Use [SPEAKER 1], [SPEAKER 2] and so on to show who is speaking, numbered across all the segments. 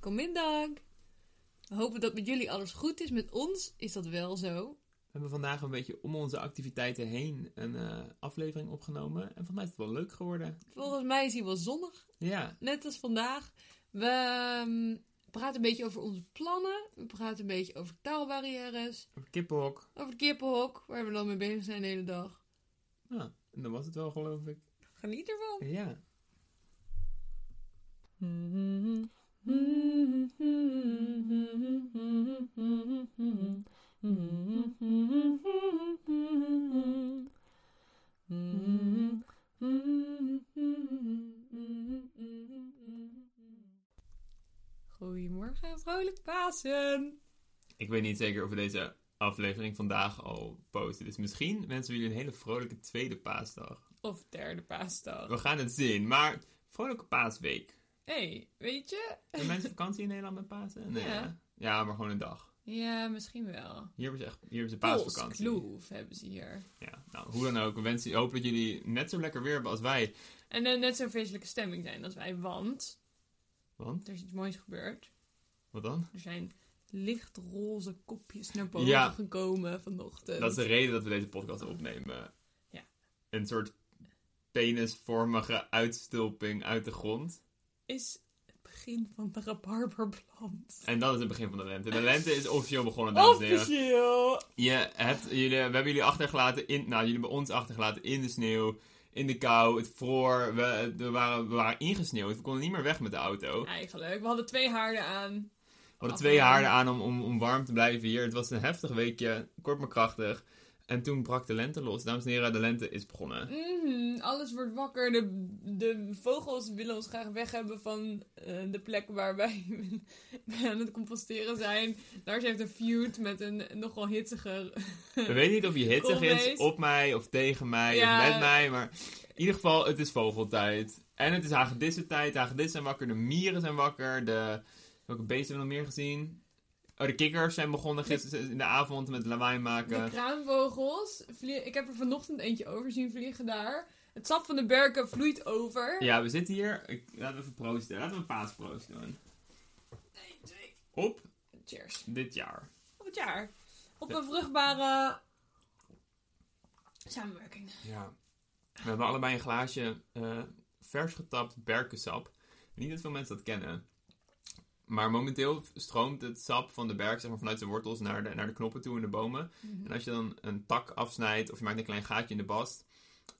[SPEAKER 1] Goedemiddag. We hopen dat met jullie alles goed is. Met ons is dat wel zo.
[SPEAKER 2] We hebben vandaag een beetje om onze activiteiten heen een eh, aflevering opgenomen. En volgens mij is het wel leuk geworden.
[SPEAKER 1] Volgens mij is hij wel zonnig.
[SPEAKER 2] Ja,
[SPEAKER 1] Net als vandaag. We ehm, praten een beetje over onze plannen. We praten een beetje over taalbarrières.
[SPEAKER 2] op het kippenhok.
[SPEAKER 1] Over het kippenhok, waar we dan mee bezig zijn de hele dag.
[SPEAKER 2] Ja, en Nou, dan was het wel, geloof ik.
[SPEAKER 1] Geniet ervan.
[SPEAKER 2] Ja.
[SPEAKER 1] Goedemorgen, vrolijk Pasen.
[SPEAKER 2] Ik weet niet zeker of we deze aflevering vandaag al posten. Dus misschien wensen we jullie een hele vrolijke tweede paasdag.
[SPEAKER 1] Of derde paasdag.
[SPEAKER 2] We gaan het zien, maar vrolijke paasweek.
[SPEAKER 1] hey, weet je?
[SPEAKER 2] Hebben mensen vakantie in Nederland met Pasen? Nee.
[SPEAKER 1] Ja.
[SPEAKER 2] hè? Ja, maar gewoon een dag.
[SPEAKER 1] Ja, misschien wel.
[SPEAKER 2] Hier hebben ze echt hier hebben ze
[SPEAKER 1] Pools
[SPEAKER 2] paasvakantie.
[SPEAKER 1] kloof hebben ze hier.
[SPEAKER 2] Ja, nou, hoe dan ook. We wensen, hopen dat jullie net zo lekker weer hebben als wij.
[SPEAKER 1] En eh, net zo'n feestelijke stemming zijn als wij, want
[SPEAKER 2] Want,
[SPEAKER 1] er is iets moois gebeurd.
[SPEAKER 2] wat dan?
[SPEAKER 1] Er zijn lichtroze kopjes naar boven
[SPEAKER 2] Ja.
[SPEAKER 1] gekomen vanochtend.
[SPEAKER 2] Dat is de reden dat we deze podcast opnemen.
[SPEAKER 1] Ja.
[SPEAKER 2] Een soort penisvormige uitstulping uit de grond.
[SPEAKER 1] Is het begin van de rabarberplant.
[SPEAKER 2] En dat is het begin van de lente. De lente is officieel begonnen, dames en heren.
[SPEAKER 1] Officieel!
[SPEAKER 2] Je hebt, jullie, we hebben jullie achtergelaten in... Nou, jullie hebben ons achtergelaten in de sneeuw. In de kou, het vroor. We, we, waren, we waren ingesneeuwd. We konden niet meer weg met de auto.
[SPEAKER 1] Eigenlijk, we hadden twee haarden aan.
[SPEAKER 2] We hadden twee haarden aan om, om, om warm te blijven hier. Het was een heftig weekje. Kort maar krachtig. En toen brak de lente los. Dames en heren, de lente is begonnen.
[SPEAKER 1] Mhm, alles wordt wakker. De, de vogels willen ons graag weg hebben van eh, de plek waar wij wij aan het composteren zijn. Lars heeft een feud met een nogal hitsige
[SPEAKER 2] Ik weet niet of je hitsig is
[SPEAKER 1] Koolmees.
[SPEAKER 2] op mij of tegen mij
[SPEAKER 1] Ja.
[SPEAKER 2] of met mij, maar in ieder geval, het is vogeltijd. En het is hagedissentijd. Hagedissen zijn wakker, de mieren zijn wakker, de... Welke beesten hebben we nog meer gezien? Oh, de kikkers zijn begonnen gisteren in de avond met lawaai
[SPEAKER 1] De
[SPEAKER 2] maken.
[SPEAKER 1] kraanvogels. vlie- Ik heb er vanochtend eentje over zien vliegen daar. Het sap van de berken vloeit over.
[SPEAKER 2] Ja, we zitten hier. Ik, laten we even proosten. Laten we een paasproost doen.
[SPEAKER 1] Eén, twee,
[SPEAKER 2] Op
[SPEAKER 1] cheers.
[SPEAKER 2] dit jaar.
[SPEAKER 1] Op het jaar. Op een vruchtbare samenwerking.
[SPEAKER 2] Ja. We hebben allebei een glaasje eh, vers getapt berkensap. Niet dat veel mensen dat kennen. Maar momenteel stroomt het sap van de berk zeg maar, vanuit zijn wortels naar de, naar de knoppen toe in de bomen. En als je dan een tak afsnijdt of je maakt een klein gaatje in de bast,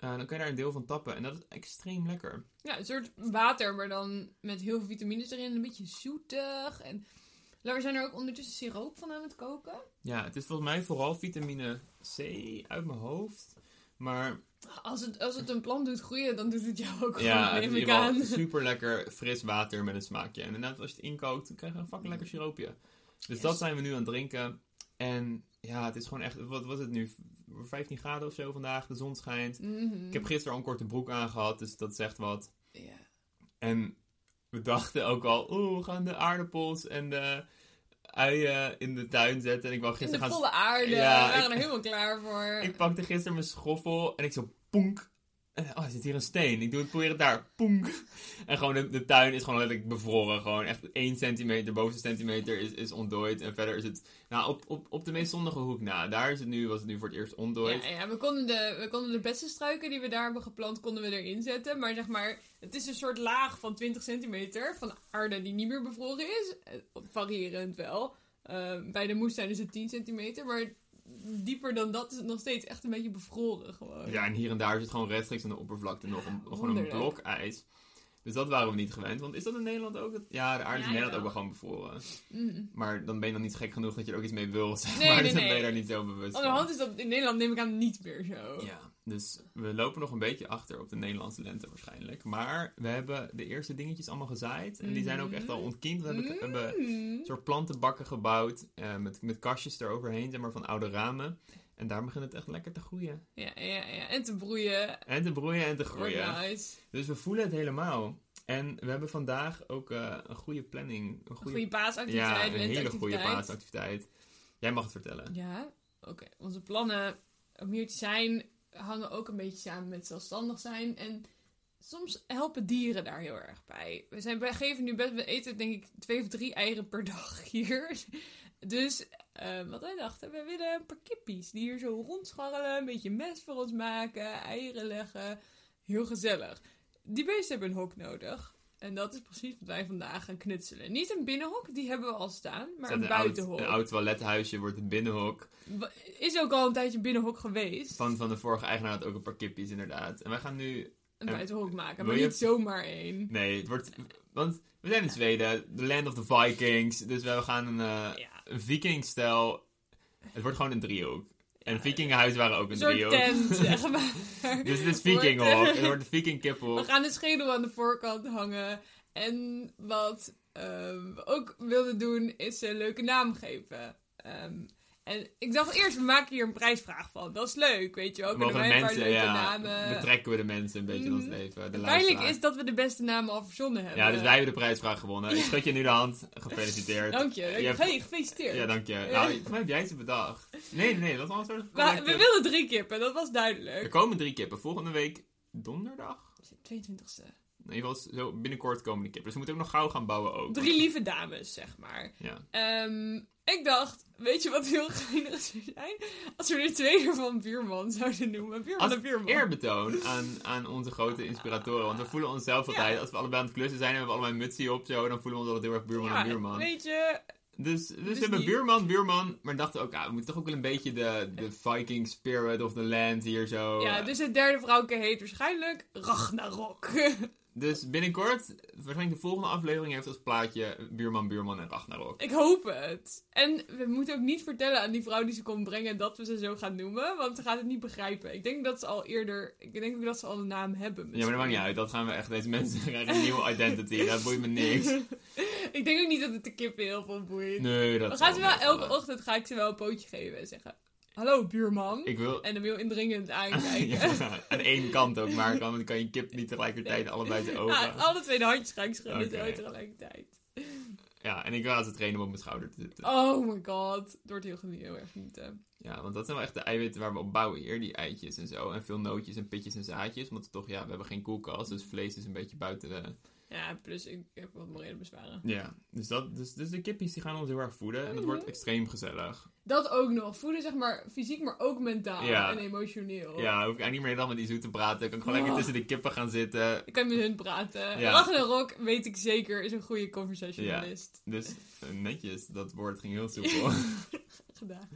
[SPEAKER 2] eh, dan kun je daar een deel van tappen. En dat is extreem lekker.
[SPEAKER 1] Ja, een soort water, maar dan met heel veel vitamines erin. Een beetje zoetig. En we zijn er ook ondertussen siroop van aan het koken.
[SPEAKER 2] Ja, het is volgens mij vooral vitamine C uit mijn hoofd. Maar
[SPEAKER 1] Als het, als het een plant doet groeien, dan doet het jou ook
[SPEAKER 2] ja,
[SPEAKER 1] goed,
[SPEAKER 2] het is
[SPEAKER 1] neem
[SPEAKER 2] in
[SPEAKER 1] ik
[SPEAKER 2] ieder
[SPEAKER 1] aan.
[SPEAKER 2] geval super lekker fris water met een smaakje. En inderdaad, als je het inkookt, dan krijg je een fucking lekker siroopje. Dus
[SPEAKER 1] Mm. Yes.
[SPEAKER 2] dat zijn we nu aan het drinken. En ja, het is gewoon echt, wat was het nu? 15 graden of zo vandaag, de zon schijnt.
[SPEAKER 1] Mhm.
[SPEAKER 2] Ik heb gisteren al een korte broek aangehad, dus dat zegt wat.
[SPEAKER 1] Ja.
[SPEAKER 2] En we dachten ook al, oeh, we gaan de aardappels en de uien in de tuin zetten. En ik wou
[SPEAKER 1] In de
[SPEAKER 2] gisteren gaan...
[SPEAKER 1] volle aarde.
[SPEAKER 2] Ja,
[SPEAKER 1] we waren
[SPEAKER 2] ik-
[SPEAKER 1] er helemaal klaar voor.
[SPEAKER 2] Ik pakte gisteren mijn schoffel en ik zo poenk. En, oh, er zit hier een steen. Ik doe het, probeer het daar. Poenk. En gewoon de, de tuin is gewoon letterlijk bevroren. Gewoon echt één centimeter, bovenste centimeter is, is ontdooid. En verder is het, nou, op, op, op de meest zonnige hoek na. Daar is het nu, was het nu voor het eerst ontdooid.
[SPEAKER 1] Ja, ja we, konden de, we konden de beste struiken die we daar hebben geplant, konden we erin zetten. Maar zeg maar, het is een soort laag van 20 centimeter van aarde die niet meer bevroren is. Eh, Variërend wel. Eh, bij de moestuin is het 10 centimeter, maar dieper dan dat is het nog steeds echt een beetje bevroren gewoon.
[SPEAKER 2] Ja, en hier en daar zit gewoon rechtstreeks aan de oppervlakte nog een, gewoon een
[SPEAKER 1] wonderlijk.
[SPEAKER 2] blok ijs. Dus dat waren we niet gewend. Want is dat in Nederland ook? Dat- Ja, de aarde is in
[SPEAKER 1] Ja,
[SPEAKER 2] Nederland ook
[SPEAKER 1] jawel.
[SPEAKER 2] wel gewoon bevroren.
[SPEAKER 1] Mm.
[SPEAKER 2] Maar dan ben je dan niet gek genoeg dat je er ook iets mee wil. Zeg
[SPEAKER 1] Nee,
[SPEAKER 2] maar.
[SPEAKER 1] nee,
[SPEAKER 2] dus dan
[SPEAKER 1] nee.
[SPEAKER 2] ben je daar niet zo bewust van.
[SPEAKER 1] Onderhand is dat in Nederland neem ik aan niet meer zo.
[SPEAKER 2] Ja, dus we lopen nog een beetje achter op de Nederlandse lente waarschijnlijk. Maar we hebben de eerste dingetjes allemaal gezaaid. En die zijn ook echt al
[SPEAKER 1] Mm-hmm.
[SPEAKER 2] ontkiemd. We hebben, hebben
[SPEAKER 1] Mm.
[SPEAKER 2] een soort plantenbakken gebouwd eh, met, met kastjes eroverheen, zeg maar, van oude ramen. En daar begint het echt lekker te groeien.
[SPEAKER 1] Ja, ja, ja. En te broeien.
[SPEAKER 2] En te broeien en te
[SPEAKER 1] Wordt
[SPEAKER 2] groeien.
[SPEAKER 1] nice.
[SPEAKER 2] Dus we voelen het helemaal. En we hebben vandaag ook eh, een goede planning. Een
[SPEAKER 1] Goede,
[SPEAKER 2] goede,
[SPEAKER 1] goede paasactiviteit.
[SPEAKER 2] ja, een hele
[SPEAKER 1] lenteactiviteit.
[SPEAKER 2] goede paasactiviteit. Jij mag het vertellen.
[SPEAKER 1] Ja, oké. Onze plannen om hier te zijn hangen ook een beetje samen met zelfstandig zijn en soms helpen dieren daar heel erg bij. We, zijn, we geven nu best, we eten denk ik twee of drie eieren per dag hier. Dus eh, wat wij dachten, we willen een paar kippies die hier zo rondscharrelen, een beetje mest voor ons maken, eieren leggen. Heel gezellig. Die beesten hebben een hok nodig. En dat is precies wat wij vandaag gaan knutselen. Niet een binnenhok, die hebben we al staan, maar
[SPEAKER 2] Staat
[SPEAKER 1] een buitenhok.
[SPEAKER 2] Oud, een oud toilethuisje wordt een binnenhok.
[SPEAKER 1] Wa- Is ook al een tijdje binnenhok geweest.
[SPEAKER 2] Van, van de vorige eigenaar had ook een paar kippies, inderdaad. En wij gaan nu...
[SPEAKER 1] een
[SPEAKER 2] en-
[SPEAKER 1] buitenhok maken,
[SPEAKER 2] wil
[SPEAKER 1] maar
[SPEAKER 2] je-
[SPEAKER 1] niet zomaar één.
[SPEAKER 2] Nee, het wordt... Want we zijn in Zweden, the land of the Vikings. Dus we gaan een, eh
[SPEAKER 1] Ja.
[SPEAKER 2] een viking-stijl... Het wordt gewoon een driehoek. En
[SPEAKER 1] Ja,
[SPEAKER 2] vikingenhuizen waren ook een
[SPEAKER 1] Een soort
[SPEAKER 2] driehoek.
[SPEAKER 1] tent, zeg maar.
[SPEAKER 2] Dus het is
[SPEAKER 1] Voor-
[SPEAKER 2] vikinghok. Het wordt een vikingkippel.
[SPEAKER 1] We gaan een schedel aan de voorkant hangen. En wat ehm, we ook wilden doen, is ze een leuke naam geven. Ehm, en ik dacht eerst, we maken hier een prijsvraag van. Dat is leuk, weet je wel. Kunnen
[SPEAKER 2] Mogen
[SPEAKER 1] wij een paar
[SPEAKER 2] mensen,
[SPEAKER 1] leuke
[SPEAKER 2] ja,
[SPEAKER 1] namen...
[SPEAKER 2] betrekken we de mensen een beetje in ons
[SPEAKER 1] Mhm.
[SPEAKER 2] leven. De
[SPEAKER 1] Pijnlijk
[SPEAKER 2] luisteraar.
[SPEAKER 1] is dat we de beste namen al verzonnen hebben.
[SPEAKER 2] Ja, dus wij hebben de prijsvraag gewonnen. Ik schud je nu de hand. Gefeliciteerd.
[SPEAKER 1] Dank je.
[SPEAKER 2] Je hebt-
[SPEAKER 1] Hey, gefeliciteerd.
[SPEAKER 2] Ja, dank je. Nou, volgens mij heb jij ze bedacht. Nee, nee, dat was al een soort
[SPEAKER 1] we, we
[SPEAKER 2] collecte-
[SPEAKER 1] wilden drie kippen, dat was
[SPEAKER 2] Er
[SPEAKER 1] duidelijk.
[SPEAKER 2] komen drie kippen. Volgende week donderdag?
[SPEAKER 1] 22e.
[SPEAKER 2] In ieder geval zo binnenkort komen die kippen. Dus we moeten ook nog gauw gaan bouwen ook.
[SPEAKER 1] Drie lieve dames, zeg maar.
[SPEAKER 2] Ja.
[SPEAKER 1] Ehm, ik dacht, weet je wat heel geinig zou zijn? Als we er twee ervan buurman zouden noemen. Buurman
[SPEAKER 2] Als
[SPEAKER 1] en buurman.
[SPEAKER 2] Eerbetoon aan, aan onze grote inspiratoren. Want we voelen onszelf altijd.
[SPEAKER 1] Ja.
[SPEAKER 2] Als we allebei aan het klussen zijn en we hebben allebei een mutsie op, zo, dan voelen we ons altijd heel erg buurman
[SPEAKER 1] Ja,
[SPEAKER 2] en buurman.
[SPEAKER 1] weet je...
[SPEAKER 2] Dus, dus, we
[SPEAKER 1] Dus
[SPEAKER 2] hebben
[SPEAKER 1] die-
[SPEAKER 2] buurman, buurman. Maar dachten ook, ah, we moeten toch ook wel een beetje de, de Viking spirit of the land hier zo.
[SPEAKER 1] Ja,
[SPEAKER 2] eh,
[SPEAKER 1] dus het derde vrouwke heet waarschijnlijk Ragnarok.
[SPEAKER 2] dus binnenkort, waarschijnlijk de volgende aflevering heeft als plaatje buurman, buurman en Ragnarok.
[SPEAKER 1] ik hoop het. En we moeten ook niet vertellen aan die vrouw die ze komt brengen dat we ze zo gaan noemen. Want ze gaat het niet begrijpen. Ik denk dat ze al eerder... Ik denk ook dat ze al een naam hebben.
[SPEAKER 2] Ja, maar dat maakt niet uit. Dat gaan we echt, deze mensen krijgen een nieuwe identity. Dat boeit me niks.
[SPEAKER 1] ik denk ook niet dat het de kippen heel veel boeit.
[SPEAKER 2] Nee, dat
[SPEAKER 1] We
[SPEAKER 2] is
[SPEAKER 1] gaan ze wel elke
[SPEAKER 2] meevallen.
[SPEAKER 1] ochtend ga ik ze wel een pootje geven en zeggen: Hallo buurman.
[SPEAKER 2] Ik wil...
[SPEAKER 1] En hem heel indringend aankijken.
[SPEAKER 2] Ja, aan één kant ook, maar dan kan je kip niet tegelijkertijd allebei zijn ogen.
[SPEAKER 1] Ah, alle twee de handjes ga ik schudden
[SPEAKER 2] oh, Oké.
[SPEAKER 1] zo tegelijkertijd.
[SPEAKER 2] Ja, en ik wil ze trainen om op mijn schouder te zitten.
[SPEAKER 1] Oh my god. Het wordt heel, genie- heel erg genieten.
[SPEAKER 2] Ja, want dat zijn wel echt de eiwitten waar we op bouwen hier. Die eitjes en zo. En veel nootjes en pitjes en zaadjes. Want toch, ja, we hebben geen koelkast. Dus vlees is een beetje buiten de...
[SPEAKER 1] Ja, plus ik heb wat morele bezwaren.
[SPEAKER 2] Ja, dus, dat, dus, dus de kippies die gaan ons heel erg voeden. En dat wordt
[SPEAKER 1] Oh.
[SPEAKER 2] extreem gezellig.
[SPEAKER 1] Dat ook nog. Voeden zeg maar fysiek, maar ook mentaal
[SPEAKER 2] Ja.
[SPEAKER 1] en emotioneel.
[SPEAKER 2] Ja, hoef ik eigenlijk niet meer de hele dag met die zoet te praten. Ik kan gewoon
[SPEAKER 1] Oh.
[SPEAKER 2] lekker tussen de kippen gaan zitten.
[SPEAKER 1] Ik kan met hun praten.
[SPEAKER 2] Ja.
[SPEAKER 1] Ragnarok, weet ik zeker, is een goede conversationalist.
[SPEAKER 2] Dus eh, netjes, dat woord ging heel soepel.
[SPEAKER 1] Gedaan.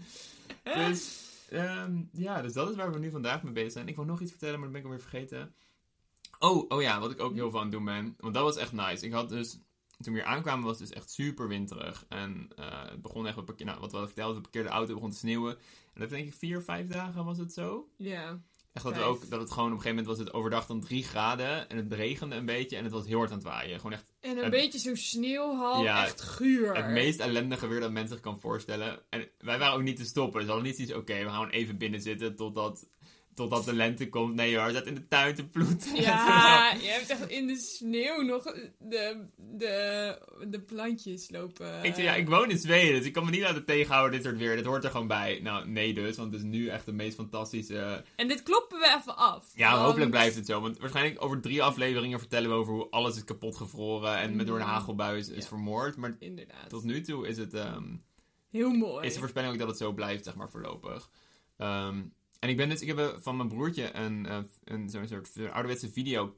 [SPEAKER 2] dus, ehm, ja, dus dat is waar we nu vandaag mee bezig zijn. Ik wou nog iets vertellen, maar dat ben ik alweer vergeten. Oh, oh ja, wat ik ook heel veel aan het doen ben. Want dat was echt nice. Ik had dus, toen we hier aankwamen was het dus echt super winterig. En eh, het begon echt, met parkeer, nou, wat we hadden verteld, de parkeerde auto begon te sneeuwen. En dat denk ik vier, vijf dagen was het zo.
[SPEAKER 1] Ja.
[SPEAKER 2] Echt dat, we
[SPEAKER 1] Vijf.
[SPEAKER 2] ook, dat het gewoon op een gegeven moment was het overdag dan drie graden. En het regende een beetje en het was heel hard aan het waaien. Gewoon echt
[SPEAKER 1] En een
[SPEAKER 2] Het-
[SPEAKER 1] beetje zo'n sneeuwhal,
[SPEAKER 2] Ja,
[SPEAKER 1] echt guur.
[SPEAKER 2] Het meest ellendige weer dat men zich kan voorstellen. En wij waren ook niet te stoppen. Dus we hadden niet iets, oké, we gaan gewoon even binnen zitten totdat, totdat de lente komt. Nee hoor, zat in de tuin te ploeten.
[SPEAKER 1] Ja, je hebt echt in de sneeuw nog de, de, de plantjes lopen. eh.
[SPEAKER 2] Ik zei, ja, ik woon in Zweden, dus ik kan me niet laten tegenhouden, dit soort weer. Dat hoort er gewoon bij. Nou, nee dus, want het is nu echt de meest fantastische...
[SPEAKER 1] En dit kloppen we even af.
[SPEAKER 2] Ja,
[SPEAKER 1] want-
[SPEAKER 2] hopelijk blijft het zo. Want waarschijnlijk over drie afleveringen vertellen we over hoe alles is kapotgevroren. En met door de hagelbui is, is
[SPEAKER 1] Mhm. Ja.
[SPEAKER 2] vermoord. Maar
[SPEAKER 1] Inderdaad.
[SPEAKER 2] tot nu toe is het... ehm,
[SPEAKER 1] Heel mooi.
[SPEAKER 2] is de voorspelling ook dat het zo blijft, zeg maar, voorlopig. Ehm, en ik ben dus, ik heb eh, van mijn broertje een, eh, een zo'n soort ouderwetse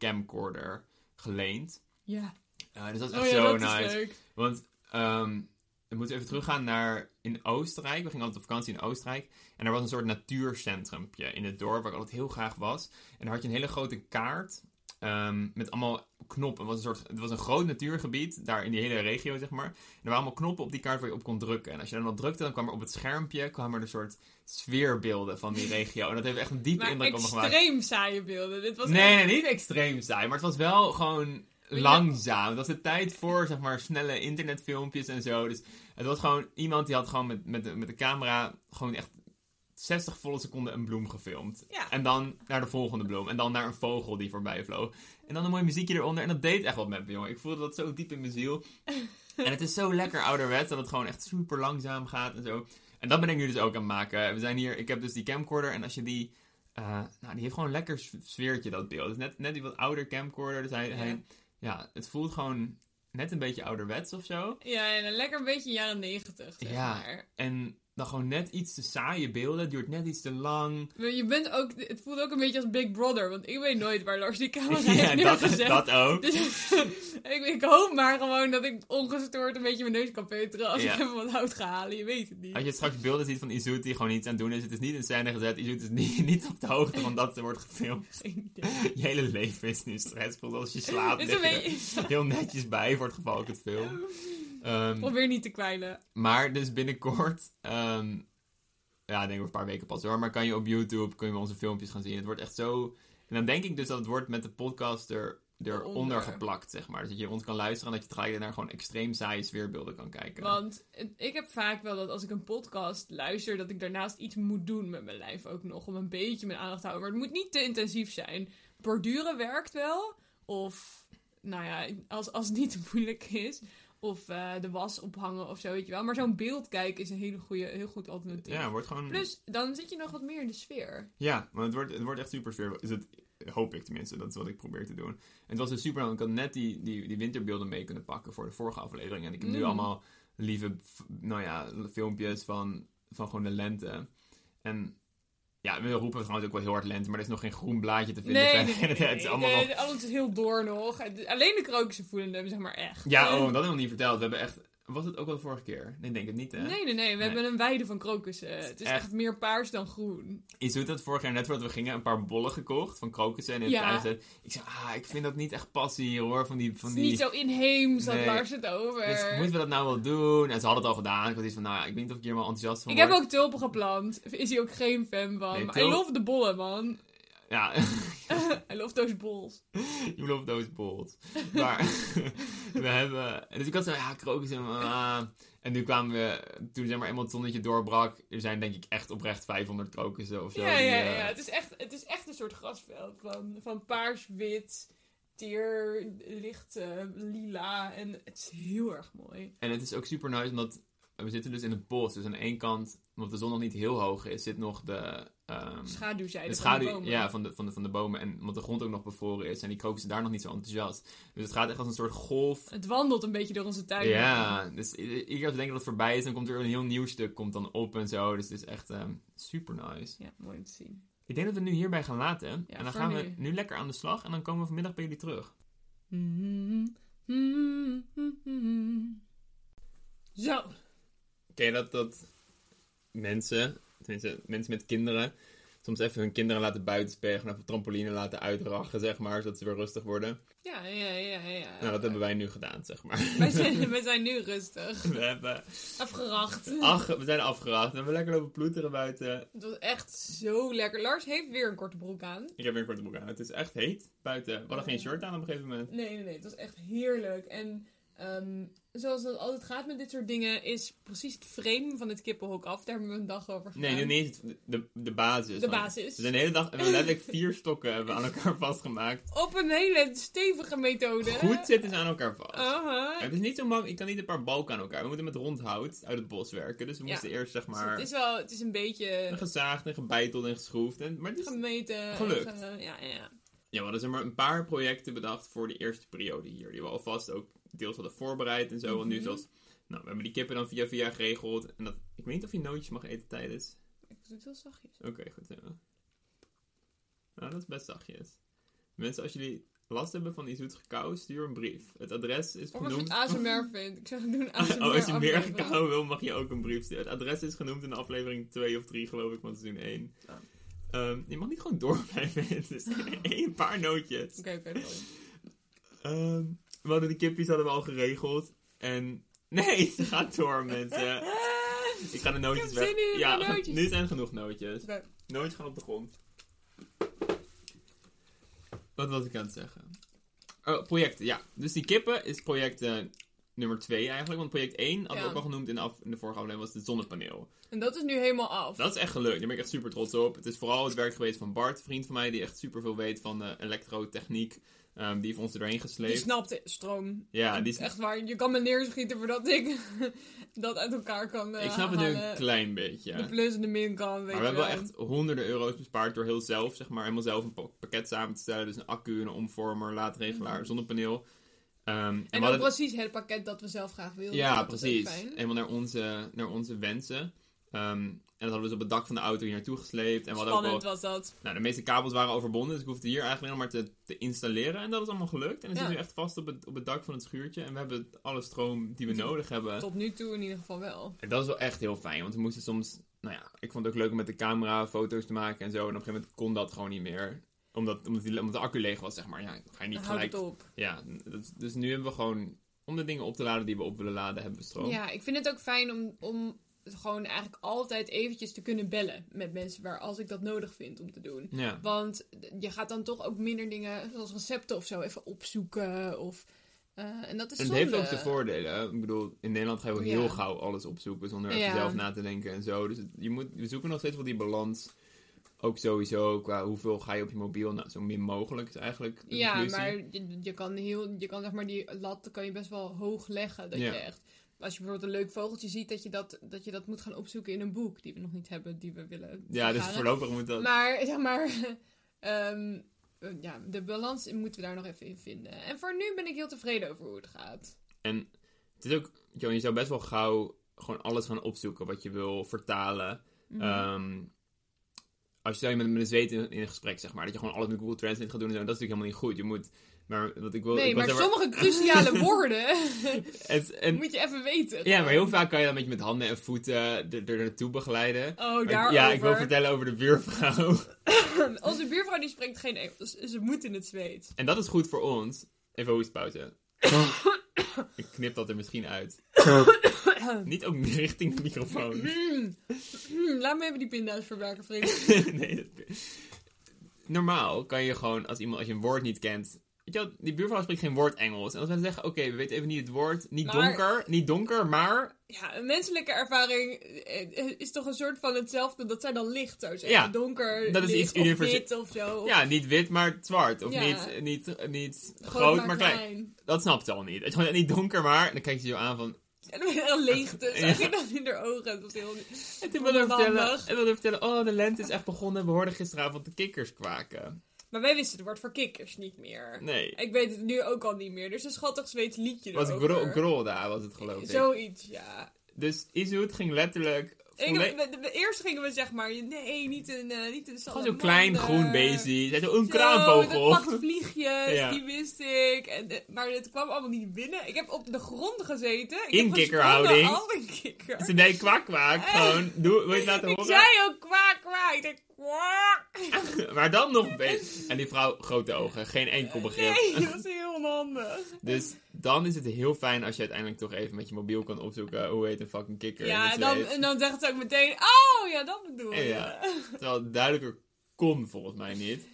[SPEAKER 2] videocamcorder geleend.
[SPEAKER 1] Ja.
[SPEAKER 2] Eh, dus dat is
[SPEAKER 1] Oh
[SPEAKER 2] echt
[SPEAKER 1] ja,
[SPEAKER 2] zo
[SPEAKER 1] dat
[SPEAKER 2] nice.
[SPEAKER 1] is leuk.
[SPEAKER 2] Want ehm we moeten even teruggaan naar in Oostenrijk. We gingen altijd op vakantie in Oostenrijk. En er was een soort natuurcentrumpje in het dorp waar ik altijd heel graag was. En daar had je een hele grote kaart ehm, met allemaal knoppen. Het was, een soort, het was een groot natuurgebied, daar in die hele regio zeg maar. En er waren allemaal knoppen op die kaart waar je op kon drukken. En als je dan op drukte, dan kwam er op het schermpje kwamen er een soort sfeerbeelden van die regio. En dat heeft echt een diepe
[SPEAKER 1] Maar
[SPEAKER 2] indruk op me gemaakt.
[SPEAKER 1] extreem saaie beelden. Dit was
[SPEAKER 2] Nee,
[SPEAKER 1] echt-
[SPEAKER 2] nee, niet extreem saai, maar het was wel gewoon
[SPEAKER 1] je-
[SPEAKER 2] langzaam. Het was de tijd voor, zeg maar, snelle internetfilmpjes en zo. Dus het was gewoon iemand die had gewoon met, met, de, met de camera gewoon echt 60 volle seconden een bloem gefilmd.
[SPEAKER 1] Ja.
[SPEAKER 2] En dan naar de volgende bloem. En dan naar een vogel die voorbij vloog. En dan een mooi muziekje eronder. En dat deed echt wat met me, jongen. Ik voelde dat zo diep in mijn ziel. en het is zo lekker ouderwets dat het gewoon echt super langzaam gaat en zo. En dat ben ik nu dus ook aan het maken. We zijn hier, ik heb dus die camcorder en als je die eh, nou, die heeft gewoon een lekker s- sfeertje, dat beeld. Het is net, net die wat ouder camcorder. Dus hij,
[SPEAKER 1] Ja.
[SPEAKER 2] hij, ja, het voelt gewoon net een beetje ouderwets of zo.
[SPEAKER 1] Ja, en een lekker beetje jaren negentig, zeg
[SPEAKER 2] Ja.
[SPEAKER 1] maar.
[SPEAKER 2] En dan gewoon net iets te saaie beelden. Het duurt net iets te lang.
[SPEAKER 1] Maar Je bent ook, het voelt ook een beetje als Big Brother, want ik weet nooit waar Lars die camera heeft
[SPEAKER 2] ja, dat,
[SPEAKER 1] neergezet.
[SPEAKER 2] dat ook.
[SPEAKER 1] Dus ik, ik hoop maar gewoon dat ik ongestoord een beetje mijn neus kan peuteren als
[SPEAKER 2] Ja. Oh,
[SPEAKER 1] ik even wat hout ga halen. Je weet het niet.
[SPEAKER 2] Als je straks beelden ziet van Izoet die gewoon iets aan het doen is. Het is niet in scène gezet. Izoet is niet, niet op de hoogte van dat er wordt gefilmd.
[SPEAKER 1] Geen idee.
[SPEAKER 2] Je hele leven is nu stressvol. Als je slaapt,
[SPEAKER 1] Dit is een
[SPEAKER 2] lig je er
[SPEAKER 1] beetje-
[SPEAKER 2] heel netjes bij voor het geval ik het film. Ehm,
[SPEAKER 1] Probeer niet te kwijlen.
[SPEAKER 2] Maar dus binnenkort, ehm, ja, ik denk over een paar weken pas hoor. Maar kan je op YouTube kun je onze filmpjes gaan zien. Het wordt echt zo. En dan denk ik dus dat het wordt met de podcast er, eronder
[SPEAKER 1] Eronder.
[SPEAKER 2] geplakt, zeg maar. Dus dat je ons kan luisteren en dat je tegelijk daarna gewoon extreem saaie sfeerbeelden kan kijken.
[SPEAKER 1] Want het- ik heb vaak wel dat als ik een podcast luister, dat ik daarnaast iets moet doen met mijn lijf ook nog. Om een beetje mijn aandacht te houden. Maar het moet niet te intensief zijn. Borduren werkt wel. Of, nou ja, als, als het niet te moeilijk is. Of eh, de was ophangen of zo, weet je wel. Maar zo'n beeld kijken is een hele goede, heel goed alternatief.
[SPEAKER 2] ja, het wordt gewoon.
[SPEAKER 1] Plus, dan zit je nog wat meer in de sfeer.
[SPEAKER 2] Ja, maar het wordt, het wordt echt super sfeervol. Is het, hoop ik tenminste, dat is wat ik probeer te doen. En het was dus super, want ik had net die, die, die winterbeelden mee kunnen pakken voor de vorige aflevering. En ik heb nu
[SPEAKER 1] Mm.
[SPEAKER 2] allemaal lieve, f- nou ja, filmpjes van, van gewoon de lente. En ja, we roepen trouwens ook wel heel hard lente, maar er is nog geen groen blaadje te vinden. het is allemaal wel...
[SPEAKER 1] nee, alles is heel door nog. Het- Alleen de krokussen voelen hem, zeg maar, echt.
[SPEAKER 2] Ja,
[SPEAKER 1] Eh,
[SPEAKER 2] oh, dat hebben we nog niet verteld. We hebben echt... Was het ook wel de vorige keer? Nee, ik denk het niet, hè?
[SPEAKER 1] Nee, nee, nee. We
[SPEAKER 2] Nee.
[SPEAKER 1] hebben een weide van krokussen. Het is
[SPEAKER 2] Echt.
[SPEAKER 1] echt, meer paars dan groen.
[SPEAKER 2] Je doet dat vorig jaar net voordat we gingen een paar bollen gekocht van krokussen en in
[SPEAKER 1] Ja.
[SPEAKER 2] het tuin gezet. Ik zei, ah, ik vind dat niet echt passie hier, hoor, van die... Van
[SPEAKER 1] het is
[SPEAKER 2] die...
[SPEAKER 1] niet zo inheems, dat
[SPEAKER 2] Nee.
[SPEAKER 1] Lars het over.
[SPEAKER 2] Dus moeten we dat nou wel doen? En ze hadden het al gedaan. Ik had iets van, nou ja, ik weet niet of ik hier helemaal enthousiast van
[SPEAKER 1] Ik heb
[SPEAKER 2] word.
[SPEAKER 1] ook tulpen geplant. Is hij ook geen fan van.
[SPEAKER 2] Nee,
[SPEAKER 1] maar
[SPEAKER 2] tulp-
[SPEAKER 1] I love de bollen, man.
[SPEAKER 2] Ja,
[SPEAKER 1] I love those balls.
[SPEAKER 2] you love those balls. Maar we hebben... en Dus ik had zo, ja, krokus en... ah. en nu kwamen we... Toen zeg maar eenmaal het zonnetje doorbrak. Er zijn denk ik echt oprecht 500 krokussen of zo.
[SPEAKER 1] Ja,
[SPEAKER 2] die,
[SPEAKER 1] ja,
[SPEAKER 2] eh,
[SPEAKER 1] ja. Het is echt, het is echt een soort grasveld van, van paars, wit, teer, licht, eh, lila. En het is heel erg mooi.
[SPEAKER 2] En het is ook super nice, omdat we zitten dus in het bos. Dus aan de ene kant, omdat de zon nog niet heel hoog is, zit nog de... ehm,
[SPEAKER 1] Schaduwzijde
[SPEAKER 2] De
[SPEAKER 1] van de
[SPEAKER 2] schaduw
[SPEAKER 1] bomen.
[SPEAKER 2] ja, van, de, van, de, van de bomen. En omdat de grond ook nog bevroren is. En die krokussen daar nog niet zo enthousiast. Dus het gaat echt als een soort golf
[SPEAKER 1] Het wandelt een beetje door onze tuin.
[SPEAKER 2] Ja, dus i- i- iedere keer als we denken dat het voorbij is, dan komt er een heel nieuw stuk komt dan op en zo. Dus het is echt ehm, super nice.
[SPEAKER 1] Ja, mooi om te zien.
[SPEAKER 2] Ik denk dat we het nu hierbij gaan laten. en dan
[SPEAKER 1] voor
[SPEAKER 2] gaan we
[SPEAKER 1] nu.
[SPEAKER 2] nu lekker aan de slag en dan komen we vanmiddag bij jullie terug.
[SPEAKER 1] Zo.
[SPEAKER 2] Ken je dat, dat mensen, tenminste mensen met kinderen, soms even hun kinderen laten buitenspelen, gewoon even op trampoline laten uitrachen, zeg maar, zodat ze weer rustig worden?
[SPEAKER 1] Ja, ja, ja, ja.
[SPEAKER 2] nou, dat hebben wij nu gedaan, zeg maar.
[SPEAKER 1] wij zijn, wij zijn nu rustig.
[SPEAKER 2] We, hebben
[SPEAKER 1] Afgeracht.
[SPEAKER 2] ach, we zijn afgeracht en we hebben lekker lopen ploeteren buiten.
[SPEAKER 1] Het was echt zo lekker. Lars heeft weer een korte broek aan.
[SPEAKER 2] Ik heb weer een korte broek aan. Het is echt heet buiten. We hadden geen shirt aan op een gegeven moment.
[SPEAKER 1] Nee, nee, nee. Het was echt heerlijk. En ehm, zoals dat altijd gaat met dit soort dingen, is precies het frame van het kippenhok af. Daar hebben we een dag over gedaan.
[SPEAKER 2] Nee, nu niet eens het- de, de basis.
[SPEAKER 1] Ehm, De
[SPEAKER 2] Want
[SPEAKER 1] basis.
[SPEAKER 2] We zijn de hele dag, we hebben letterlijk vier stokken hebben we aan elkaar vastgemaakt.
[SPEAKER 1] Op een hele stevige methode.
[SPEAKER 2] Goed zitten ze aan elkaar vast.
[SPEAKER 1] Aha.
[SPEAKER 2] Het is niet zo makkelijk, ik kan niet een paar balken aan elkaar. We moeten met rondhout uit het bos werken. Dus we
[SPEAKER 1] Ja.
[SPEAKER 2] moesten eerst zeg
[SPEAKER 1] Dus het
[SPEAKER 2] maar
[SPEAKER 1] is wel, het is een beetje
[SPEAKER 2] gezaagd en gebeiteld en geschroefd. En, maar het is,
[SPEAKER 1] gemeten. en
[SPEAKER 2] Gelukt.
[SPEAKER 1] ge- ja, ja, ja.
[SPEAKER 2] ja, we hadden zeg maar een paar projecten bedacht voor de eerste periode hier. Die we alvast ook deels hadden voorbereid en zo. Want nu
[SPEAKER 1] Mhm.
[SPEAKER 2] zoals, nou we hebben die kippen dan via via geregeld. En dat, ik weet niet of je nootjes mag eten tijdens.
[SPEAKER 1] Ik doe het heel zachtjes.
[SPEAKER 2] Oké, goed. ja. Nou, dat is best zachtjes. Mensen, als jullie last hebben van die zoet gekauw, stuur een brief. Het adres is
[SPEAKER 1] Of als je het
[SPEAKER 2] genoemd...
[SPEAKER 1] ASMR vindt. Ik zeg, doe een ASMR
[SPEAKER 2] Oh, als je meer
[SPEAKER 1] aflevering.
[SPEAKER 2] gekauw wil, mag je ook een brief sturen. Het adres is genoemd in de aflevering 2 of 3, geloof ik, van seizoen 1.
[SPEAKER 1] Ah.
[SPEAKER 2] Ehm, je mag niet gewoon door blijven eten. Dus één paar nootjes.
[SPEAKER 1] Oké, oké, mooi.
[SPEAKER 2] Ehm, we hadden de kippies hadden we al geregeld. En... Nee, ze gaat door, mensen. Ik ga de nootjes
[SPEAKER 1] heb
[SPEAKER 2] weg...
[SPEAKER 1] zin in
[SPEAKER 2] ja,
[SPEAKER 1] de nootjes.
[SPEAKER 2] nu zijn genoeg nootjes.
[SPEAKER 1] Oké.
[SPEAKER 2] Nooit gaan op de grond. Wat was ik aan het zeggen? Oh, projecten, ja. Dus die kippen is project eh, nummer 2 eigenlijk. Want project 1, hadden we
[SPEAKER 1] Ja.
[SPEAKER 2] ook al genoemd in de, af, in de vorige aflevering, was het zonnepaneel.
[SPEAKER 1] En dat is nu helemaal af.
[SPEAKER 2] Dat is echt gelukt. Daar ben ik echt super trots op. Het is vooral het werk geweest van Bart, een vriend van mij, die echt super veel weet van eh, elektrotechniek. Ehm, die heeft ons er doorheen
[SPEAKER 1] Die
[SPEAKER 2] gesleept.
[SPEAKER 1] snapt stroom.
[SPEAKER 2] ja, die
[SPEAKER 1] Echt waar, je kan me neerschieten voordat ik dat uit elkaar kan eh,
[SPEAKER 2] ik snap het nu een
[SPEAKER 1] halen.
[SPEAKER 2] klein beetje.
[SPEAKER 1] De plus en de min kan, weet
[SPEAKER 2] Maar we
[SPEAKER 1] je
[SPEAKER 2] hebben wel
[SPEAKER 1] wel.
[SPEAKER 2] echt honderden euro's bespaard door heel zelf, zeg maar, helemaal zelf een pa- pakket samen te stellen. Dus een accu, een omvormer, laadregelaar, zonnepaneel. Ehm, en we
[SPEAKER 1] Mhm. En
[SPEAKER 2] hadden-
[SPEAKER 1] ook precies het pakket dat we zelf graag wilden.
[SPEAKER 2] Ja,
[SPEAKER 1] Dat is ook
[SPEAKER 2] precies.
[SPEAKER 1] fijn.
[SPEAKER 2] Helemaal naar onze, naar onze wensen. Ehm, en dat hadden we dus op het dak van de auto hier naartoe gesleept. En we hadden ook wel,
[SPEAKER 1] Spannend was dat.
[SPEAKER 2] nou, de meeste kabels waren overbonden, dus ik hoefde hier eigenlijk alleen nog maar te, te installeren. En dat is allemaal gelukt. En dan
[SPEAKER 1] Ja.
[SPEAKER 2] zitten we echt vast op het, op het dak van het schuurtje. En we hebben alle stroom die we
[SPEAKER 1] Tot-
[SPEAKER 2] nodig hebben.
[SPEAKER 1] Tot nu toe in ieder geval wel.
[SPEAKER 2] En dat is wel echt heel fijn, want we moesten soms... Nou ja, ik vond het ook leuk om met de camera foto's te maken en zo. En op een gegeven moment kon dat gewoon niet meer. Omdat, omdat, die, omdat de accu leeg was, zeg maar. Ja, ga je niet
[SPEAKER 1] Houd
[SPEAKER 2] gelijk...
[SPEAKER 1] het op.
[SPEAKER 2] Ja, dat- dus nu hebben we gewoon... Om de dingen op te laden die we op willen laden, hebben we stroom.
[SPEAKER 1] Ja, ik vind het ook fijn om, om gewoon eigenlijk altijd eventjes te kunnen bellen met mensen waar als ik dat nodig vind om te doen.
[SPEAKER 2] ja.
[SPEAKER 1] Want je gaat dan toch ook minder dingen zoals recepten of zo even opzoeken. Of, eh, en dat is
[SPEAKER 2] En het
[SPEAKER 1] zonde.
[SPEAKER 2] heeft ook zijn voordelen. Ik bedoel, in Nederland ga je ook heel
[SPEAKER 1] Ja.
[SPEAKER 2] gauw alles opzoeken zonder even
[SPEAKER 1] Ja.
[SPEAKER 2] zelf na te denken en zo. Dus het- je moet, we zoeken nog steeds wel die balans. Ook sowieso qua hoeveel ga je op je mobiel. Nou, zo min mogelijk is eigenlijk de
[SPEAKER 1] Ja,
[SPEAKER 2] conclusie.
[SPEAKER 1] maar je, je kan heel, je kan zeg maar die lat kan je best wel hoog leggen. Dat
[SPEAKER 2] Ja.
[SPEAKER 1] je echt, als je bijvoorbeeld een leuk vogeltje ziet, dat je dat, dat je dat moet gaan opzoeken in een boek die we nog niet hebben, die we willen.
[SPEAKER 2] Ja, dus
[SPEAKER 1] vergaren.
[SPEAKER 2] voorlopig moet dat...
[SPEAKER 1] Maar zeg maar, ehm, eh, ja, de balans moeten we daar nog even in vinden. En voor nu ben ik heel tevreden over hoe het gaat.
[SPEAKER 2] En het is ook... Joh, je zou best wel gauw gewoon alles gaan opzoeken wat je wil vertalen.
[SPEAKER 1] Mhm.
[SPEAKER 2] Ehm, als je stel je met, met een zweet in, in een gesprek, zeg maar. Dat je gewoon alles met Google Translate gaat doen en zo. Dat is natuurlijk helemaal niet goed. Je moet... Maar wat Oh, ik wil...
[SPEAKER 1] nee,
[SPEAKER 2] ik was
[SPEAKER 1] maar
[SPEAKER 2] daar-
[SPEAKER 1] sommige cruciale woorden
[SPEAKER 2] het- en-
[SPEAKER 1] moet je even weten.
[SPEAKER 2] Ja, maar heel vaak kan je dan een beetje met handen en voeten eh, er, er naartoe begeleiden.
[SPEAKER 1] Oh,
[SPEAKER 2] Maar ik-
[SPEAKER 1] daarover.
[SPEAKER 2] ja, ik wil vertellen over de buurvrouw.
[SPEAKER 1] Onze buurvrouw die spreekt geen Engels, dus ze moet in het Zweeds.
[SPEAKER 2] En dat is goed voor ons. Even hoestpauze. ik knip dat er misschien uit. Niet ook richting de microfoon.
[SPEAKER 1] Hmm, laat me even die pinda's verwerken, vriend.
[SPEAKER 2] nee, dat- Normaal kan je gewoon, als, iemand, als je een woord niet kent... Weet je wel, die buurvrouw spreekt geen woord Engels. En als wij zeggen, oké, we weten even niet het woord. Niet
[SPEAKER 1] Maar-
[SPEAKER 2] donker, niet donker, maar...
[SPEAKER 1] Ja, een menselijke ervaring eh, is toch een soort van hetzelfde. Dat zij dan licht zou zijn.
[SPEAKER 2] Ja,
[SPEAKER 1] Donker,
[SPEAKER 2] dat is
[SPEAKER 1] licht,
[SPEAKER 2] iets
[SPEAKER 1] of
[SPEAKER 2] universe-
[SPEAKER 1] wit of zo. Of
[SPEAKER 2] Ja, niet wit, maar zwart. Of
[SPEAKER 1] Ja.
[SPEAKER 2] niet, niet, niet groot, maar, klein.
[SPEAKER 1] klein.
[SPEAKER 2] dat snapt ze al niet. Het is gewoon niet donker, maar... En dan kijkt ze je aan van...
[SPEAKER 1] En dan weer een leegte.
[SPEAKER 2] Ja.
[SPEAKER 1] Zag je dat in haar ogen? Dat was heel...
[SPEAKER 2] En toen wilde ik vertellen,
[SPEAKER 1] Onhandig.
[SPEAKER 2] en wilde ik vertellen... Oh, de lente is echt begonnen. We hoorden gisteravond de kikkers kwaken.
[SPEAKER 1] Maar wij wisten het woord voor kikkers niet meer.
[SPEAKER 2] Nee.
[SPEAKER 1] Ik weet het nu ook al niet meer. Dus een schattig Zweeds liedje
[SPEAKER 2] Was
[SPEAKER 1] erover.
[SPEAKER 2] gro grolda, was het geloof ik.
[SPEAKER 1] Zoiets, ja.
[SPEAKER 2] Dus Izoet ging letterlijk...
[SPEAKER 1] Ik,
[SPEAKER 2] volle-
[SPEAKER 1] we- we- eerst gingen we zeg maar, nee, niet een, eh niet een
[SPEAKER 2] Gewoon
[SPEAKER 1] salamander.
[SPEAKER 2] zo'n klein groen beestje. Zij zo, een
[SPEAKER 1] Zo, dat
[SPEAKER 2] kraanvogel.
[SPEAKER 1] vliegjes,
[SPEAKER 2] Ja.
[SPEAKER 1] die wist ik. En, eh, maar het kwam allemaal niet binnen. Ik heb op de grond gezeten. Ik
[SPEAKER 2] In
[SPEAKER 1] heb
[SPEAKER 2] kikkerhouding.
[SPEAKER 1] gesprongen Al een kikker.
[SPEAKER 2] Ze deed kwak kwak. Gewoon, doe, wil je het laten
[SPEAKER 1] Eh. Ik
[SPEAKER 2] horen?
[SPEAKER 1] zei ook kwaak, kwaak. Ik dacht, kwaak.
[SPEAKER 2] Maar dan nog beter. En die vrouw, grote ogen. Geen enkel begrip.
[SPEAKER 1] Nee, dat is heel onhandig.
[SPEAKER 2] Dus dan is het heel fijn als je uiteindelijk toch even met je mobiel kan opzoeken... hoe heet een fucking kikker in
[SPEAKER 1] Ja,
[SPEAKER 2] het
[SPEAKER 1] en dan,
[SPEAKER 2] Zweeds.
[SPEAKER 1] en dan zegt ze ook meteen, oh ja, dat bedoel
[SPEAKER 2] Ja,
[SPEAKER 1] je.
[SPEAKER 2] ja. Terwijl het duidelijker kon volgens mij niet.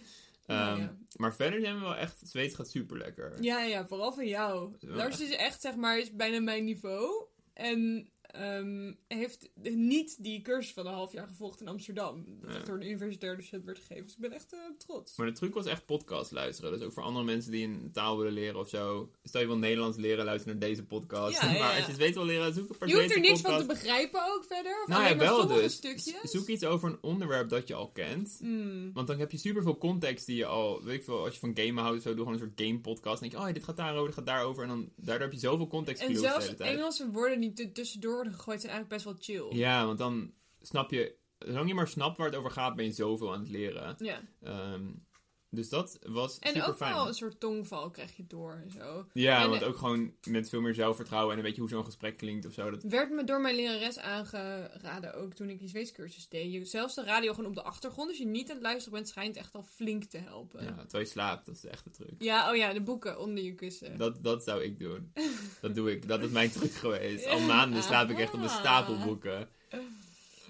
[SPEAKER 2] Ehm,
[SPEAKER 1] ja.
[SPEAKER 2] Maar verder zijn we wel echt... Zweeds gaat super lekker.
[SPEAKER 1] Ja, ja, vooral van jou.
[SPEAKER 2] Ja.
[SPEAKER 1] Lars is echt, zeg maar, is bijna mijn niveau. En ehm, heeft niet die cursus van een half jaar gevolgd in Amsterdam. Dat
[SPEAKER 2] Ja.
[SPEAKER 1] echt door een universitair docent werd gegeven. Dus ik ben echt eh, trots.
[SPEAKER 2] Maar de truc was echt podcast luisteren. Dus ook voor andere mensen die een taal willen leren of zo. Stel je wil Nederlands leren, luister naar deze podcast.
[SPEAKER 1] Ja, ja,
[SPEAKER 2] maar
[SPEAKER 1] ja.
[SPEAKER 2] als je het weet wil leren, zoek een paar
[SPEAKER 1] Je hoeft er
[SPEAKER 2] Zweedse
[SPEAKER 1] niks van te
[SPEAKER 2] podcasts.
[SPEAKER 1] begrijpen ook verder. Of
[SPEAKER 2] Nou ja,
[SPEAKER 1] alleen maar
[SPEAKER 2] wel
[SPEAKER 1] sommige
[SPEAKER 2] dus.
[SPEAKER 1] stukjes.
[SPEAKER 2] Zoek iets over een onderwerp dat je al kent.
[SPEAKER 1] Mm.
[SPEAKER 2] Want dan heb je superveel context die je al, weet ik veel, als je van gamen houdt of zo, doe gewoon een soort game podcast. Dan denk je, oh, ja, dit gaat daarover, dit gaat daarover. En dan, daardoor heb je zoveel context
[SPEAKER 1] En
[SPEAKER 2] clues de
[SPEAKER 1] zelfs
[SPEAKER 2] hele tijd.
[SPEAKER 1] Engelse woorden die er tussendoor worden gegooid zijn eigenlijk best wel chill.
[SPEAKER 2] Ja, want dan snap je, zolang je maar snapt waar het over gaat, ben je zoveel aan het leren.
[SPEAKER 1] Ja.
[SPEAKER 2] Ehm, dus dat was
[SPEAKER 1] En
[SPEAKER 2] super
[SPEAKER 1] ook
[SPEAKER 2] fijn.
[SPEAKER 1] wel een soort tongval krijg je door en zo.
[SPEAKER 2] Ja,
[SPEAKER 1] En-
[SPEAKER 2] want ook gewoon met veel meer zelfvertrouwen en een beetje hoe zo'n gesprek klinkt of zo. Dat...
[SPEAKER 1] Werd me door mijn lerares aangeraden ook toen ik die Zweedscursus deed. Je- Zelfs de radio gewoon op de achtergrond, als je niet aan het luisteren bent, schijnt echt al flink te helpen.
[SPEAKER 2] Ja,
[SPEAKER 1] Ja,
[SPEAKER 2] terwijl je slaapt, dat is echt de truc.
[SPEAKER 1] oh ja, de boeken onder je kussen.
[SPEAKER 2] Dat, dat zou ik doen. Dat doe ik. Dat is mijn truc geweest. Al maanden slaap ik echt op een
[SPEAKER 1] Aha.
[SPEAKER 2] stapel boeken.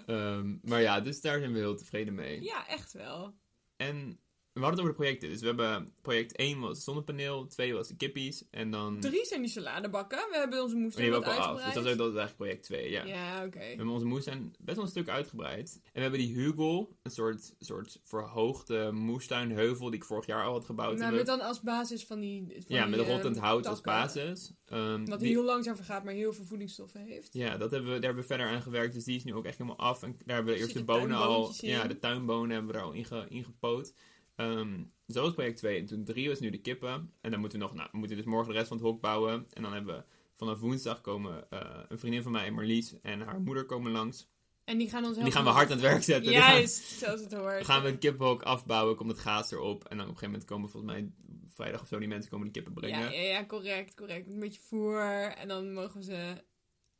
[SPEAKER 2] Ehm, maar ja, dus daar zijn we heel tevreden mee.
[SPEAKER 1] Ja, echt wel.
[SPEAKER 2] En we hadden het over de projecten. Dus we hebben project 1 was zonnepaneel, 2 was de kippies en dan...
[SPEAKER 1] Drie zijn die saladebakken. We hebben onze
[SPEAKER 2] Hmm. Oh, die
[SPEAKER 1] moestuin
[SPEAKER 2] hebben
[SPEAKER 1] wat
[SPEAKER 2] we ook al af. Dus
[SPEAKER 1] uitgebreid.
[SPEAKER 2] dat is, ook- dat is eigenlijk project 2, ja.
[SPEAKER 1] Ja, oké.
[SPEAKER 2] We hebben onze moestuin best wel een stuk uitgebreid. En we hebben die hugel, een soort, soort verhoogde moestuinheuvel die ik vorig jaar al had gebouwd.
[SPEAKER 1] Nou,
[SPEAKER 2] hebben.
[SPEAKER 1] met dan als basis van die. van
[SPEAKER 2] ja,
[SPEAKER 1] die,
[SPEAKER 2] met
[SPEAKER 1] eh,
[SPEAKER 2] rottend hout als
[SPEAKER 1] takken.
[SPEAKER 2] basis. Ehm,
[SPEAKER 1] Wat
[SPEAKER 2] die-
[SPEAKER 1] heel langzaam vergaat, maar heel veel voedingsstoffen heeft.
[SPEAKER 2] Ja, dat hebben we, daar hebben we verder aan gewerkt. Dus die is nu ook echt helemaal af. En daar hebben we eerst de
[SPEAKER 1] Zitten
[SPEAKER 2] bonen al.
[SPEAKER 1] tuinboontjes in.
[SPEAKER 2] Ja, de tuinbonen hebben we er al in, ge- in gepoot. Ehm, dus dat was project 2. En toen 3 was nu de kippen. En dan moeten we nog, nou, we moeten dus morgen de rest van het hok bouwen. En dan hebben we vanaf woensdag komen eh, een vriendin van mij, Marlies, en haar moeder komen langs.
[SPEAKER 1] En die gaan ons
[SPEAKER 2] En die gaan we hard aan het werk zetten. Dus Die gaan-
[SPEAKER 1] Juist, zoals het hoort.
[SPEAKER 2] dan gaan we een kippenhok afbouwen, komt het gaas erop. En dan op een gegeven moment komen volgens mij vrijdag of zo die mensen komen de kippen brengen.
[SPEAKER 1] ja, ja, ja, correct, correct. Een beetje voer en dan mogen ze,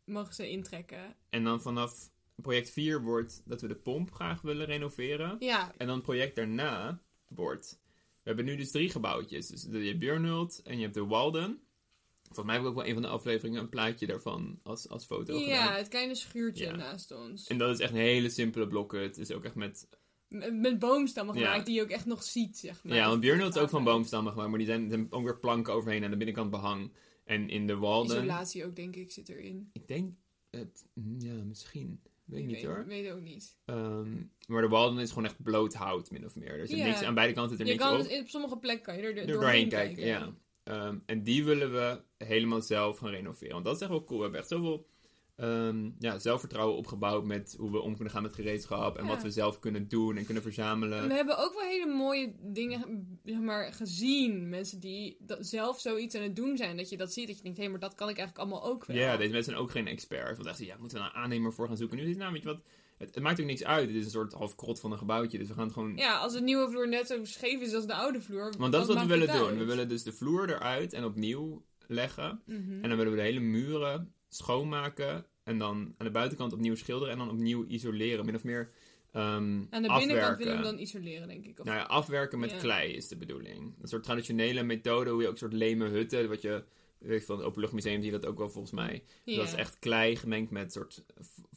[SPEAKER 1] mogen ze intrekken.
[SPEAKER 2] En dan vanaf project 4 wordt dat we de pomp graag willen renoveren.
[SPEAKER 1] Ja,
[SPEAKER 2] En dan het project daarna wordt... We hebben nu dus drie gebouwtjes. Dus je hebt Björnhult en je hebt de Walden. Volgens mij heb ik ook wel een van de afleveringen een plaatje daarvan als, als foto
[SPEAKER 1] ja
[SPEAKER 2] gedaan.
[SPEAKER 1] het kleine schuurtje
[SPEAKER 2] Ja.
[SPEAKER 1] naast ons.
[SPEAKER 2] En dat is echt een hele simpele blokken. Het is ook echt met...
[SPEAKER 1] M- Met boomstammen
[SPEAKER 2] Ja.
[SPEAKER 1] gemaakt die je ook echt nog ziet, zeg maar.
[SPEAKER 2] Ja, want Björnhult is ook van boomstammen gemaakt. Maar die zijn, er zijn ook weer planken overheen aan de binnenkant behang. En in de Walden...
[SPEAKER 1] Isolatie ook, denk ik, zit erin.
[SPEAKER 2] Ik denk het. mm, Ja, misschien. Weet ik
[SPEAKER 1] Ik
[SPEAKER 2] niet hoor.
[SPEAKER 1] Weet ook niet.
[SPEAKER 2] Ehm, maar de Walden is gewoon echt bloot hout, min of meer. Er zit
[SPEAKER 1] Ja.
[SPEAKER 2] niks, aan beide kanten zit er
[SPEAKER 1] Je
[SPEAKER 2] niks
[SPEAKER 1] kan
[SPEAKER 2] op.
[SPEAKER 1] dus op sommige plekken kan je er,
[SPEAKER 2] Er
[SPEAKER 1] er
[SPEAKER 2] doorheen, kijken, ja. Ehm, en die willen we helemaal zelf gaan renoveren. Want dat is echt wel cool. We hebben echt zoveel ehm, ja, zelfvertrouwen opgebouwd met hoe we om kunnen gaan met gereedschap. En
[SPEAKER 1] Ja.
[SPEAKER 2] wat we zelf kunnen doen en kunnen verzamelen.
[SPEAKER 1] We hebben ook wel hele mooie dingen zeg maar, gezien. Mensen die dat zelf zoiets aan het doen zijn. Dat je dat ziet. Dat je denkt, hé, maar dat kan ik eigenlijk allemaal ook
[SPEAKER 2] Ja,
[SPEAKER 1] wel.
[SPEAKER 2] deze mensen zijn ook geen expert. Want dachten, ja, moeten we nou een aannemer voor gaan zoeken? Nu is het nou, weet je wat, het, het maakt ook niks uit. Het is een soort half krot van een gebouwtje. Dus we gaan het gewoon
[SPEAKER 1] Ja, als de nieuwe vloer net zo scheef is als de oude vloer.
[SPEAKER 2] Want dat is wat we
[SPEAKER 1] maakt
[SPEAKER 2] willen
[SPEAKER 1] het
[SPEAKER 2] doen.
[SPEAKER 1] uit?
[SPEAKER 2] We willen dus de vloer eruit en opnieuw leggen.
[SPEAKER 1] Mhm.
[SPEAKER 2] En dan willen we de hele muren schoonmaken. En dan aan de buitenkant opnieuw schilderen. En dan opnieuw isoleren. Min of meer ehm,
[SPEAKER 1] Aan de binnenkant
[SPEAKER 2] afwerken.
[SPEAKER 1] willen we hem dan isoleren, denk ik. Of...
[SPEAKER 2] Nou ja, afwerken met
[SPEAKER 1] Ja.
[SPEAKER 2] klei is de bedoeling. Een soort traditionele methode. Hoe je ook een soort leme hutten. Wat je weet ik, van het Openluchtmuseum zie je dat ook wel volgens mij.
[SPEAKER 1] ja,
[SPEAKER 2] Dat is echt klei gemengd met soort,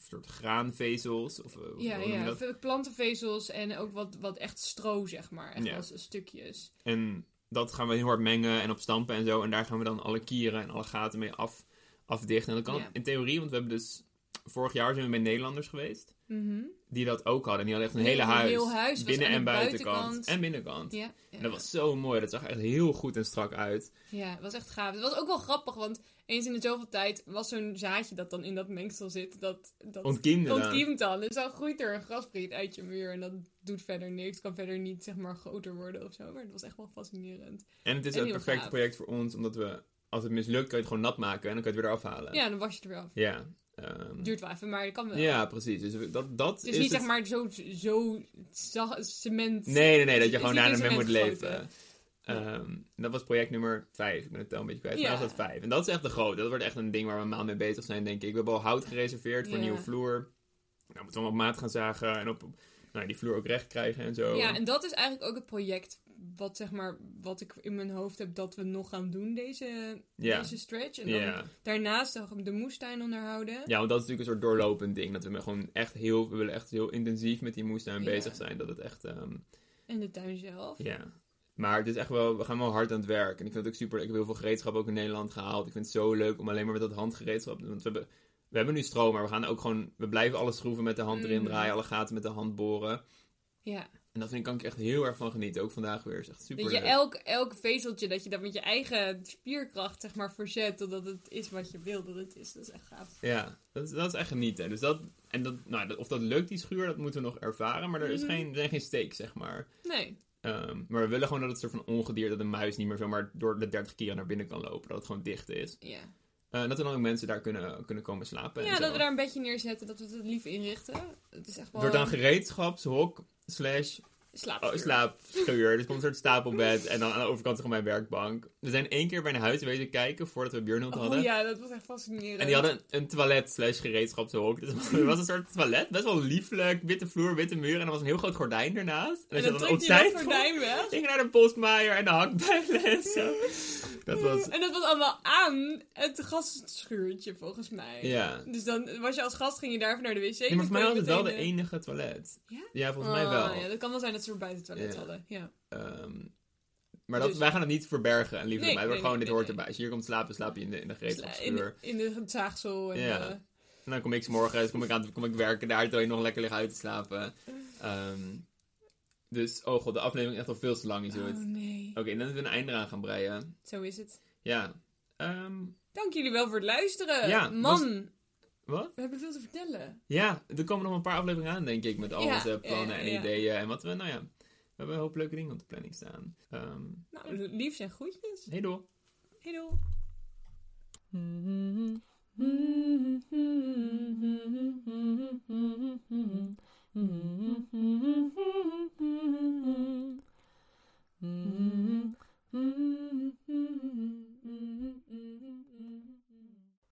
[SPEAKER 2] soort graanvezels. Of, eh, hoe
[SPEAKER 1] Ja,
[SPEAKER 2] noem je
[SPEAKER 1] ja.
[SPEAKER 2] dat?
[SPEAKER 1] veel Plantenvezels en ook wat, wat echt stro, zeg maar. Echt
[SPEAKER 2] Ja.
[SPEAKER 1] als stukjes.
[SPEAKER 2] En dat gaan we heel hard mengen en op stampen en zo. En daar gaan we dan alle kieren en alle gaten mee af, afdichten. En dat kan
[SPEAKER 1] Ja.
[SPEAKER 2] in theorie, want we hebben dus... Vorig jaar zijn we bij Nederlanders geweest.
[SPEAKER 1] Mhm.
[SPEAKER 2] Die dat ook hadden. En die hadden echt een
[SPEAKER 1] Ja,
[SPEAKER 2] hele
[SPEAKER 1] een
[SPEAKER 2] huis.
[SPEAKER 1] heel huis, was
[SPEAKER 2] binnen
[SPEAKER 1] aan de
[SPEAKER 2] en buitenkant.
[SPEAKER 1] buitenkant.
[SPEAKER 2] En binnenkant.
[SPEAKER 1] Ja, ja.
[SPEAKER 2] En dat was zo mooi. Dat zag echt heel goed en strak uit.
[SPEAKER 1] Ja, het was echt gaaf. Het was ook wel grappig, want eens in de zoveel tijd was zo'n zaadje dat dan in dat mengsel zit, dat, dat
[SPEAKER 2] Ontkiemde.
[SPEAKER 1] ontkiemt dan. Dus dan groeit er een graspriet uit je muur en dat doet verder niks. kan verder niet, zeg maar, groter worden of zo. Maar het was echt wel fascinerend.
[SPEAKER 2] En het is
[SPEAKER 1] En
[SPEAKER 2] ook het
[SPEAKER 1] heel
[SPEAKER 2] perfecte
[SPEAKER 1] gaaf.
[SPEAKER 2] project voor ons. Omdat we, als het mislukt, kan je het gewoon nat maken. En dan kan je het weer eraf halen.
[SPEAKER 1] Ja, dan was je er weer af.
[SPEAKER 2] Ja, ehm,
[SPEAKER 1] Duurt wel even, maar dat kan wel.
[SPEAKER 2] ja precies. Dus we- dat, dat
[SPEAKER 1] het is,
[SPEAKER 2] is
[SPEAKER 1] niet,
[SPEAKER 2] het-
[SPEAKER 1] zeg maar, zo, zo za- cement...
[SPEAKER 2] Nee, nee, nee, dat
[SPEAKER 1] Het
[SPEAKER 2] je
[SPEAKER 1] is
[SPEAKER 2] gewoon
[SPEAKER 1] niet
[SPEAKER 2] daar
[SPEAKER 1] in
[SPEAKER 2] mee moet
[SPEAKER 1] cement
[SPEAKER 2] leven.
[SPEAKER 1] gegoten.
[SPEAKER 2] Ehm, dat was project nummer 5. Ik ben het tel een beetje kwijt. Maar
[SPEAKER 1] Ja.
[SPEAKER 2] dat was dat 5. En dat is echt de grote. Dat wordt echt een ding waar we een maand mee bezig zijn, denk ik. We hebben al hout gereserveerd voor een
[SPEAKER 1] Ja.
[SPEAKER 2] nieuwe vloer. Nou, moeten we hem op maat gaan zagen en op, op- nou, die vloer ook recht krijgen en zo.
[SPEAKER 1] Ja, en dat is eigenlijk ook het project wat, zeg maar, wat ik in mijn hoofd heb dat we nog gaan doen, deze,
[SPEAKER 2] Ja.
[SPEAKER 1] deze stretch. En dan
[SPEAKER 2] ja.
[SPEAKER 1] daarnaast nog de moestuin onderhouden.
[SPEAKER 2] ja, want dat is natuurlijk een soort doorlopend ding. Dat we gewoon echt heel, we willen echt heel intensief met die moestuin
[SPEAKER 1] Ja.
[SPEAKER 2] bezig zijn. Dat het echt, ehm,
[SPEAKER 1] En de tuin zelf.
[SPEAKER 2] Ja. Maar het is echt wel, we gaan wel hard aan het werk. En ik vind het ook super. Ik heb heel veel gereedschap ook in Nederland gehaald. Ik vind het zo leuk om alleen maar met dat handgereedschap. Want we hebben, we hebben nu stroom, maar we gaan ook gewoon. We blijven alle schroeven met de hand erin
[SPEAKER 1] Mm.
[SPEAKER 2] draaien, alle gaten met de hand boren.
[SPEAKER 1] Ja.
[SPEAKER 2] En dat vind ik, kan ik echt heel erg van genieten. Ook vandaag weer. Het is echt super
[SPEAKER 1] Dat je
[SPEAKER 2] leuk.
[SPEAKER 1] elk, elk vezeltje, dat je dat met je eigen spierkracht zeg maar verzet, totdat het is wat je wil dat het is. Dat is echt gaaf.
[SPEAKER 2] Ja, dat, is- dat is echt genieten. Dus dat, en dat, nou, dat- of dat lukt, die schuur, dat moeten we nog ervaren. Maar er, is
[SPEAKER 1] Mhm.
[SPEAKER 2] geen, er zijn geen stakes, zeg maar.
[SPEAKER 1] Nee.
[SPEAKER 2] Ehm, maar we willen gewoon dat het soort van ongedier, dat een muis niet meer zomaar door de 30 keren naar binnen kan lopen. Dat het gewoon dicht is.
[SPEAKER 1] Ja.
[SPEAKER 2] Eh, dat er dan ook mensen daar kunnen, kunnen komen slapen. en
[SPEAKER 1] Ja,
[SPEAKER 2] zo.
[SPEAKER 1] dat we daar een beetje neerzetten, dat we het lief inrichten. Het is echt
[SPEAKER 2] Het
[SPEAKER 1] wel...
[SPEAKER 2] wordt dan gereedschapshok slash
[SPEAKER 1] slaap.
[SPEAKER 2] oh, slaapschuur. dus komt een soort stapelbed en dan aan de overkant gewoon mijn werkbank. We zijn één keer bij een huis wezen kijken voordat we Björnholt hadden.
[SPEAKER 1] Oh ja, dat was echt fascinerend.
[SPEAKER 2] En die hadden een, een toilet slash gereedschapshok. Dus het was een soort toilet, best wel lieflijk. Witte vloer, witte muur en er was een heel groot gordijn ernaast. En
[SPEAKER 1] en
[SPEAKER 2] als je
[SPEAKER 1] dan
[SPEAKER 2] dan
[SPEAKER 1] trok hij
[SPEAKER 2] opzij
[SPEAKER 1] dat gordijn weg.
[SPEAKER 2] ging naar de postmaaier en de hakbijlen en zo. Dat was...
[SPEAKER 1] En dat was allemaal aan het gastschuurtje, volgens mij.
[SPEAKER 2] Ja.
[SPEAKER 1] Dus dan was je als gast, ging je daarvoor naar de wc.
[SPEAKER 2] Nee, maar voor mij
[SPEAKER 1] dan
[SPEAKER 2] was
[SPEAKER 1] kon
[SPEAKER 2] het
[SPEAKER 1] je
[SPEAKER 2] wel de
[SPEAKER 1] meteen, eh,
[SPEAKER 2] enige toilet.
[SPEAKER 1] Ja?
[SPEAKER 2] Ja, volgens mij
[SPEAKER 1] Oh,
[SPEAKER 2] wel.
[SPEAKER 1] Ja, dat kan wel zijn dat ze voor buiten het toilet
[SPEAKER 2] Ja.
[SPEAKER 1] hadden. Ja.
[SPEAKER 2] Ehm, maar dat,
[SPEAKER 1] Dus-
[SPEAKER 2] wij gaan het niet verbergen en liefde
[SPEAKER 1] Nee,
[SPEAKER 2] bij. We
[SPEAKER 1] nee,
[SPEAKER 2] gewoon,
[SPEAKER 1] nee,
[SPEAKER 2] dit
[SPEAKER 1] nee,
[SPEAKER 2] hoort
[SPEAKER 1] nee.
[SPEAKER 2] erbij. Als je hier komt slapen, slaap je in de, in de
[SPEAKER 1] Dus, eh, in,
[SPEAKER 2] gereedschapsvloer.
[SPEAKER 1] in de- het zaagsel. En,
[SPEAKER 2] Ja.
[SPEAKER 1] eh,
[SPEAKER 2] En dan kom ik 's morgens, kom ik, aan, kom ik werken daar, terwijl je nog lekker ligt uit te slapen. Ehm, dus, oh god, de aflevering is echt al veel te lang is hoor.
[SPEAKER 1] oh nee.
[SPEAKER 2] Oké, dan hebben we een einde eraan gaan breien.
[SPEAKER 1] Zo is het.
[SPEAKER 2] Ja. Ehm,
[SPEAKER 1] Dank jullie wel voor het luisteren.
[SPEAKER 2] Ja,
[SPEAKER 1] Man,
[SPEAKER 2] wat?
[SPEAKER 1] we hebben veel te vertellen.
[SPEAKER 2] Ja, er komen nog een paar afleveringen aan, denk ik. Met al
[SPEAKER 1] Ja,
[SPEAKER 2] onze plannen
[SPEAKER 1] ja,
[SPEAKER 2] en
[SPEAKER 1] ja.
[SPEAKER 2] ideeën. En wat we, nou ja, we hebben een hoop leuke dingen op de planning staan. Ehm
[SPEAKER 1] Nou, liefs en groetjes.
[SPEAKER 2] hey doei.
[SPEAKER 1] Hey doei.